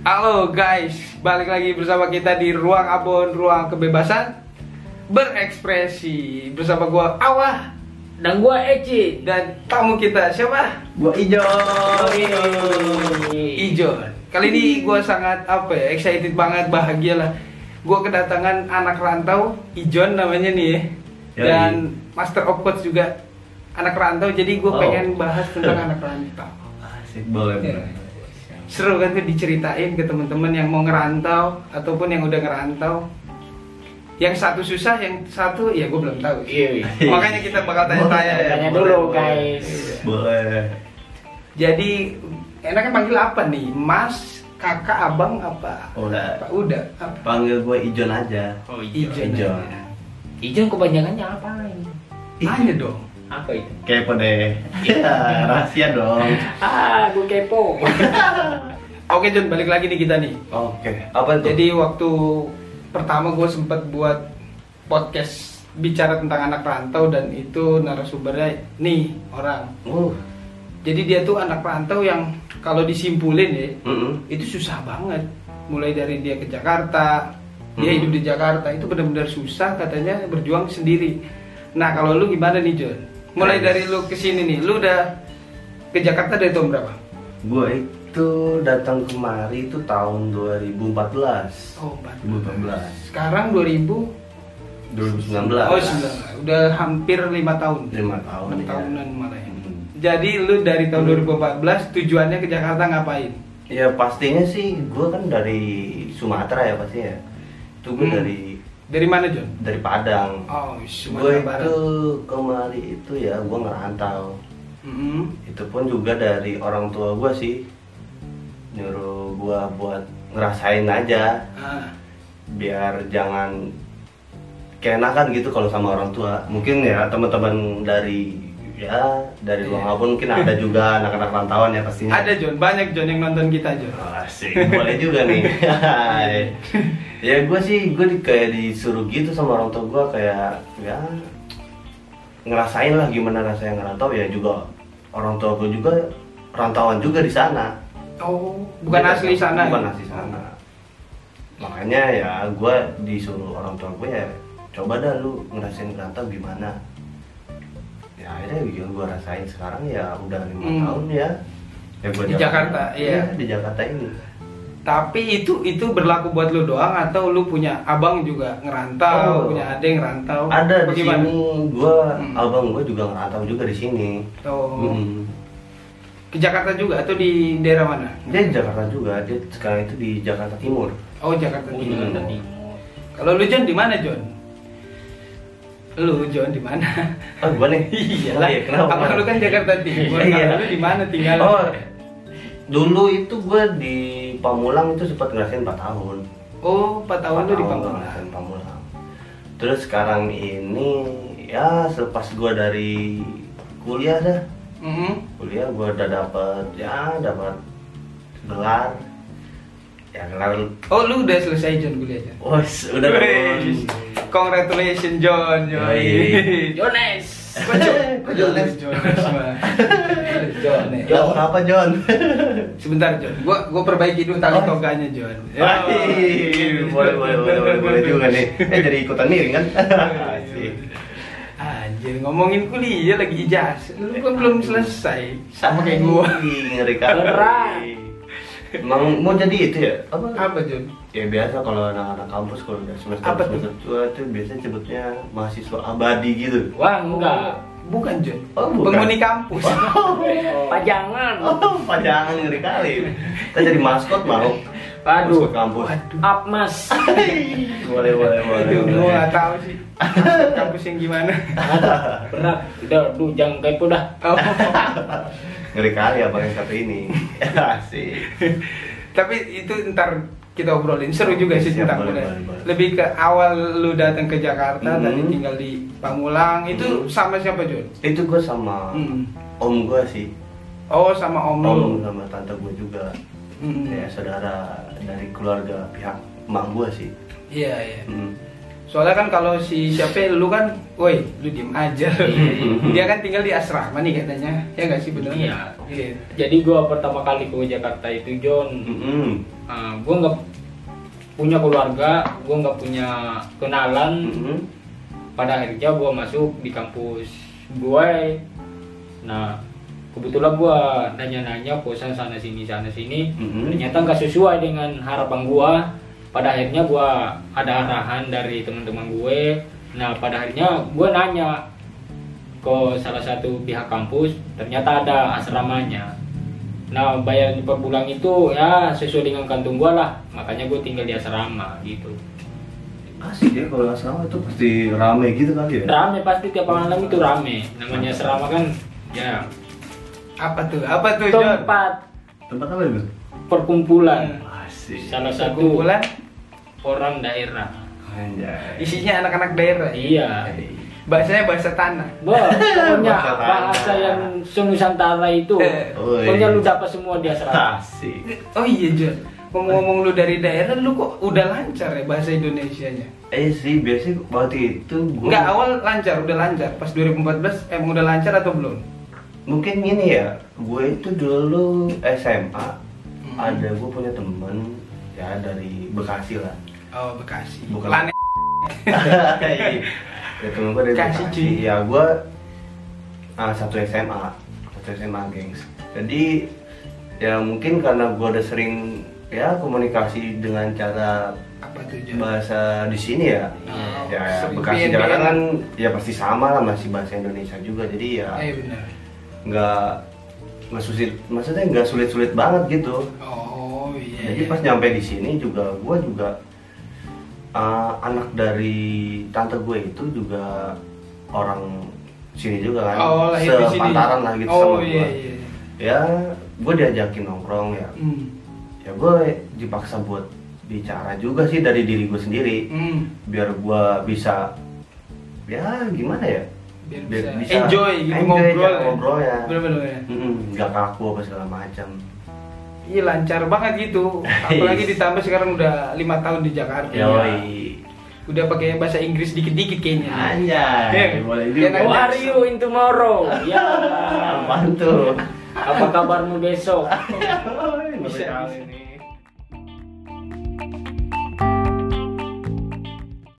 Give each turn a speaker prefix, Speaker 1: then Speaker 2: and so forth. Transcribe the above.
Speaker 1: Halo guys, balik lagi bersama kita di Ruang Abon, Ruang Kebebasan Berekspresi Bersama gua Awah
Speaker 2: Dan gua Eci.
Speaker 1: dan tamu kita siapa?
Speaker 3: Gua ijo.
Speaker 1: Ijon Kali ini gua sangat apa ya, excited banget, bahagia lah Gua kedatangan anak rantau, Ijon namanya nih ya
Speaker 3: Yoi.
Speaker 1: Dan Master of Coach juga anak rantau Jadi gua
Speaker 3: Wow.
Speaker 1: pengen bahas tentang anak rantau
Speaker 3: Asik Ah, boleh. boleh.
Speaker 1: seru kan tuh diceritain ke teman-teman yang mau ngerantau ataupun yang udah ngerantau yang satu susah yang satu ya gue belum tahu
Speaker 2: Iya.
Speaker 1: makanya kita bakal tanya-tanya ya
Speaker 2: Tanya
Speaker 3: Boleh,
Speaker 2: dulu
Speaker 3: boleh.
Speaker 2: guys.
Speaker 3: Boleh.
Speaker 1: jadi enaknya panggil apa nih mas kakak abang apa
Speaker 3: Udah.
Speaker 1: apa udah apa
Speaker 3: Panggil gua Ijon aja.
Speaker 2: Oh,
Speaker 1: ijon
Speaker 3: Ijon.
Speaker 1: aja.
Speaker 2: Ijon kepanjangannya apa?
Speaker 1: tanya dong
Speaker 2: Apa itu?
Speaker 3: Kepo deh. Iya, rahasia dong.
Speaker 2: Ah, gua kepo.
Speaker 1: oke Jon balik lagi nih kita nih
Speaker 3: Oke. Apa
Speaker 1: jadi waktu pertama gue sempet buat podcast bicara tentang anak rantau dan itu narasumbernya nih orang
Speaker 3: Uh.
Speaker 1: Jadi dia tuh anak rantau yang kalau disimpulin ya,
Speaker 3: Mm-mm.
Speaker 1: itu susah banget. Mulai dari dia ke Jakarta, dia
Speaker 3: Mhm.
Speaker 1: hidup di Jakarta itu benar-benar susah katanya berjuang sendiri. Nah kalau lu gimana nih John? Mulai
Speaker 3: Nice.
Speaker 1: dari lu kesini nih, lu udah ke Jakarta dari tahun berapa?
Speaker 3: Gua itu datang kemari itu tahun 2014.
Speaker 1: Oh,
Speaker 3: 2014.
Speaker 1: Sekarang 2000,
Speaker 3: 2019.
Speaker 1: oh 19, udah hampir lima tahun.
Speaker 3: 5 tahun.
Speaker 1: Enam
Speaker 3: ya.
Speaker 1: tahunan malah ya.
Speaker 3: Hmm.
Speaker 1: Jadi lu dari tahun 2014 tujuannya ke Jakarta ngapain?
Speaker 3: Ya pastinya sih gua kan dari Sumatera ya pasti ya. Itu gua
Speaker 1: Hmm.
Speaker 3: dari
Speaker 1: Dari mana John?
Speaker 3: dari Padang.
Speaker 1: Oh,
Speaker 3: gue
Speaker 1: Sumatera Barat.
Speaker 3: itu kemari itu ya gue ngerantau
Speaker 1: Mhm.
Speaker 3: itu pun juga dari orang tua gue sih nyuruh gue buat ngerasain aja
Speaker 1: Ah.
Speaker 3: biar jangan keenakan gitu kalau sama orang tua mungkin ya teman-teman dari ya dari luang
Speaker 1: Iya.
Speaker 3: Abon mungkin ada juga anak-anak rantauan ya pastinya
Speaker 1: Ada John, banyak John yang nonton kita John.
Speaker 3: Asik, boleh juga nih. Hai. ya gue sih gue kayak disuruh gitu sama orang tua gue kayak ya ngerasain lah gimana rasanya ngerantau ya juga orang tua gue juga rantauan juga di sana.
Speaker 1: Oh, bukan
Speaker 3: Jadi,
Speaker 1: asli sana.
Speaker 3: iya, Bukan
Speaker 1: ya?
Speaker 3: asli sana. Makanya ya gue disuruh orang tua gue ya coba dah lu ngerasain ngerantau gimana. Ya akhirnya yang gue rasain sekarang ya udah lima
Speaker 1: Hmm.
Speaker 3: tahun ya. Ya,
Speaker 1: Di
Speaker 3: gua jalanin.
Speaker 1: Jakarta, iya.
Speaker 3: Iya, di Jakarta ini.
Speaker 1: Tapi itu itu berlaku buat lu doang atau lu punya abang juga ngerantau,
Speaker 3: Oh.
Speaker 1: punya adek ngerantau.
Speaker 3: ada
Speaker 1: Apa
Speaker 3: di
Speaker 1: gimana?
Speaker 3: sini gua
Speaker 1: Hmm.
Speaker 3: abang gua juga ngerantau juga di sini
Speaker 1: Oh.
Speaker 3: Hmm.
Speaker 1: Ke Jakarta juga atau di daerah mana?
Speaker 3: dia di Jakarta juga dia sekarang itu di Jakarta Timur
Speaker 1: Oh, Jakarta
Speaker 2: Oh,
Speaker 1: Timur.
Speaker 2: Jakarta
Speaker 3: Hmm.
Speaker 2: Timur.
Speaker 1: Kalau lu John di mana John? Lu John di mana?
Speaker 3: oh gua nih
Speaker 1: Iyalah,
Speaker 3: Oh, iya, kenapa
Speaker 1: Abang lu kan Jakarta Timur.
Speaker 3: Iya.
Speaker 1: Kalau lu di mana tinggal?
Speaker 3: oh dulu itu gua di Pamulang itu sempat ngerasain 4 tahun
Speaker 1: Oh, 4 tahun lu di Pamulang.
Speaker 3: ngerasain Pamulang terus sekarang ini ya selepas gua dari kuliah dah
Speaker 1: Mhm.
Speaker 3: kuliah gue udah dapat ya dapat gelar ya gelar
Speaker 1: Oh, lu udah selesai John kuliahnya?
Speaker 3: Wes, udah
Speaker 1: Wey.
Speaker 3: dong. Iya,
Speaker 1: Congratulations John, yoi.
Speaker 3: Yoi.
Speaker 2: Jones.
Speaker 1: Kok Jo- kok Jones, Jones, Mas. Jones.
Speaker 3: Jon, kenapa Jon?
Speaker 1: Sebentar John, gua gua perbaiki dulu tali
Speaker 3: Oh.
Speaker 1: toganya John.
Speaker 3: Wih, boleh, boleh, boleh, boleh, boleh juga nih. Eh, jadi ikutan miring kan?
Speaker 1: Iya,
Speaker 3: Asik.
Speaker 1: Anjir, ngomongin kuliah lagi ijaz. Lu kan belum selesai. Sama kayak gua.
Speaker 3: Ih, Ngeri kali.
Speaker 2: Berat.
Speaker 3: Emang mau jadi itu ya? Apa?
Speaker 1: Apa John?
Speaker 3: Ya biasa kalau anak-anak kampus kalau udah semester
Speaker 1: Apa tuh?
Speaker 3: semester tua itu biasanya sebutnya mahasiswa abadi gitu.
Speaker 2: Wah, enggak.
Speaker 1: Bukan John.
Speaker 3: Oh, bukan.
Speaker 1: Penghuni kampus.
Speaker 2: Pajangan.
Speaker 3: Oh, pajangan ngeri kali. Kita jadi maskot mau.
Speaker 2: Waduh.
Speaker 3: Maskot kampus.
Speaker 2: Apmas.
Speaker 3: Boleh, boleh, boleh.
Speaker 1: Aduh,
Speaker 3: boleh.
Speaker 1: gua nggak tahu sih. Maksud kampus yang gimana?
Speaker 2: Berat. Udah, duh, jangan kepo dah.
Speaker 1: Oh.
Speaker 3: Ngeri kali abang yang satu ini. Asik.
Speaker 1: Tapi itu ntar kita obrolin seru juga sih
Speaker 3: Siap,
Speaker 1: tentang
Speaker 3: boleh,
Speaker 1: kuliah.
Speaker 3: boleh, boleh.
Speaker 1: Lebih ke awal lu datang ke Jakarta
Speaker 3: Mhm.
Speaker 1: tadi tinggal di Pamulang itu
Speaker 3: Mhm.
Speaker 1: sama siapa John?
Speaker 3: Itu gue sama
Speaker 1: Hmm.
Speaker 3: om gue sih.
Speaker 1: Oh sama om lu.
Speaker 3: Om sama tante gue juga.
Speaker 1: Mhm.
Speaker 3: Ya saudara dari keluarga pihak emak gue sih.
Speaker 1: Iya iya.
Speaker 3: Hmm.
Speaker 1: soalnya kan kalau si siapa lu kan woi lu diem aja
Speaker 3: Iya,
Speaker 1: dia kan tinggal di asrama nih katanya ya nggak sih bener
Speaker 2: Iya. Jadi gua pertama kali ke Jakarta itu John,
Speaker 3: Mm-mm.
Speaker 2: ah, gua nggak punya keluarga, gua nggak punya kenalan.
Speaker 3: Mm-mm.
Speaker 2: Pada akhirnya gua masuk di kampus gue. Nah, kebetulan gua nanya-nanya kosan sana sini sana sini,
Speaker 1: Hmm.
Speaker 3: Mm-mm.
Speaker 2: ternyata nggak sesuai dengan harapan gua. Pada akhirnya gua ada arahan dari teman-teman gue. Nah, pada akhirnya gua nanya ke salah satu pihak kampus, ternyata ada asramanya. Nah, bayar per bulan itu ya sesuai dengan kantung gua lah. Makanya gue tinggal di asrama gitu.
Speaker 3: Asik ya kalau asrama itu pasti rame gitu kali ya.
Speaker 2: Rame pasti tiap malam itu rame. Namanya asrama kan ya
Speaker 1: apa tuh apa tuh John
Speaker 2: tempat
Speaker 3: Tempat apa itu? Hmm.
Speaker 2: perkumpulan
Speaker 3: Asik.
Speaker 2: salah satu
Speaker 1: kumpulan
Speaker 2: orang daerah.
Speaker 3: Anjay.
Speaker 1: isinya anak-anak daerah
Speaker 2: Iya.
Speaker 1: bahasanya bahasa tanah
Speaker 2: Wah, pokoknya
Speaker 3: Bahasa tanah.
Speaker 2: bahasa yang senusantara itu
Speaker 1: Eh.
Speaker 3: Oi.
Speaker 2: pokoknya lu dapat semua di asrama.
Speaker 3: Asik.
Speaker 1: oh iya John ngomong-ngomong lu dari daerah lu kok udah lancar ya bahasa Indonesianya
Speaker 3: Eh sih biasanya waktu itu gua
Speaker 1: Enggak awal lancar, udah lancar. Pas 2014 emang udah lancar atau belum?
Speaker 3: mungkin gini ya gue itu dulu SMA
Speaker 1: Hmm.
Speaker 3: ada gue punya temen ya dari Bekasi lah
Speaker 1: Oh, Bekasi.
Speaker 3: Bukan.
Speaker 1: Lane.
Speaker 3: ya temen gue dari
Speaker 1: Bekasi, cuy.
Speaker 3: Bekasi ya gue ah, satu SMA satu SMA gengs jadi ya mungkin karena gue udah sering ya komunikasi dengan cara
Speaker 1: Apa tuh, Jon?
Speaker 3: bahasa di sini ya
Speaker 1: Iya. Oh,
Speaker 3: ya
Speaker 1: sering
Speaker 3: Bekasi
Speaker 1: BNN.
Speaker 3: Jakarta kan ya pasti sama lah masih bahasa Indonesia juga jadi ya
Speaker 1: Eh, benar.
Speaker 3: nggak nggak sulit maksudnya nggak sulit-sulit banget gitu
Speaker 1: Oh, iya.
Speaker 3: jadi pas nyampe di sini juga gue juga eh, anak dari tante gue itu juga orang sini juga kan
Speaker 1: Oh, lahir di sini.
Speaker 3: sepantaran lah gitu
Speaker 1: oh,
Speaker 3: sama
Speaker 1: iya,
Speaker 3: gue
Speaker 1: iya.
Speaker 3: ya gue diajakin nongkrong ya
Speaker 1: Hmm.
Speaker 3: ya gue dipaksa buat bicara juga sih dari diri gue sendiri
Speaker 1: Hmm.
Speaker 3: biar gue bisa ya gimana ya
Speaker 1: Biar
Speaker 3: biar
Speaker 1: bisa, enjoy gitu ngobrol.
Speaker 3: aja
Speaker 1: ya.
Speaker 3: ngobrol ya
Speaker 1: Bener-bener. ya.
Speaker 3: Mm-mm, nggak kaku apa segala macam
Speaker 1: Iya, lancar banget gitu. Apalagi ditambah sekarang udah lima tahun di Jakarta.
Speaker 3: Iya. Yoi. Nah,
Speaker 1: Udah pakai bahasa Inggris dikit-dikit kayaknya.
Speaker 3: Anjay,
Speaker 1: Eh,
Speaker 3: boleh
Speaker 1: dia
Speaker 3: juga.
Speaker 1: nanya.
Speaker 2: How Oh, are you in tomorrow? Ya.
Speaker 3: Apaan tuh?
Speaker 2: Apa kabarmu besok?
Speaker 1: Bisa, bisa.
Speaker 3: ini.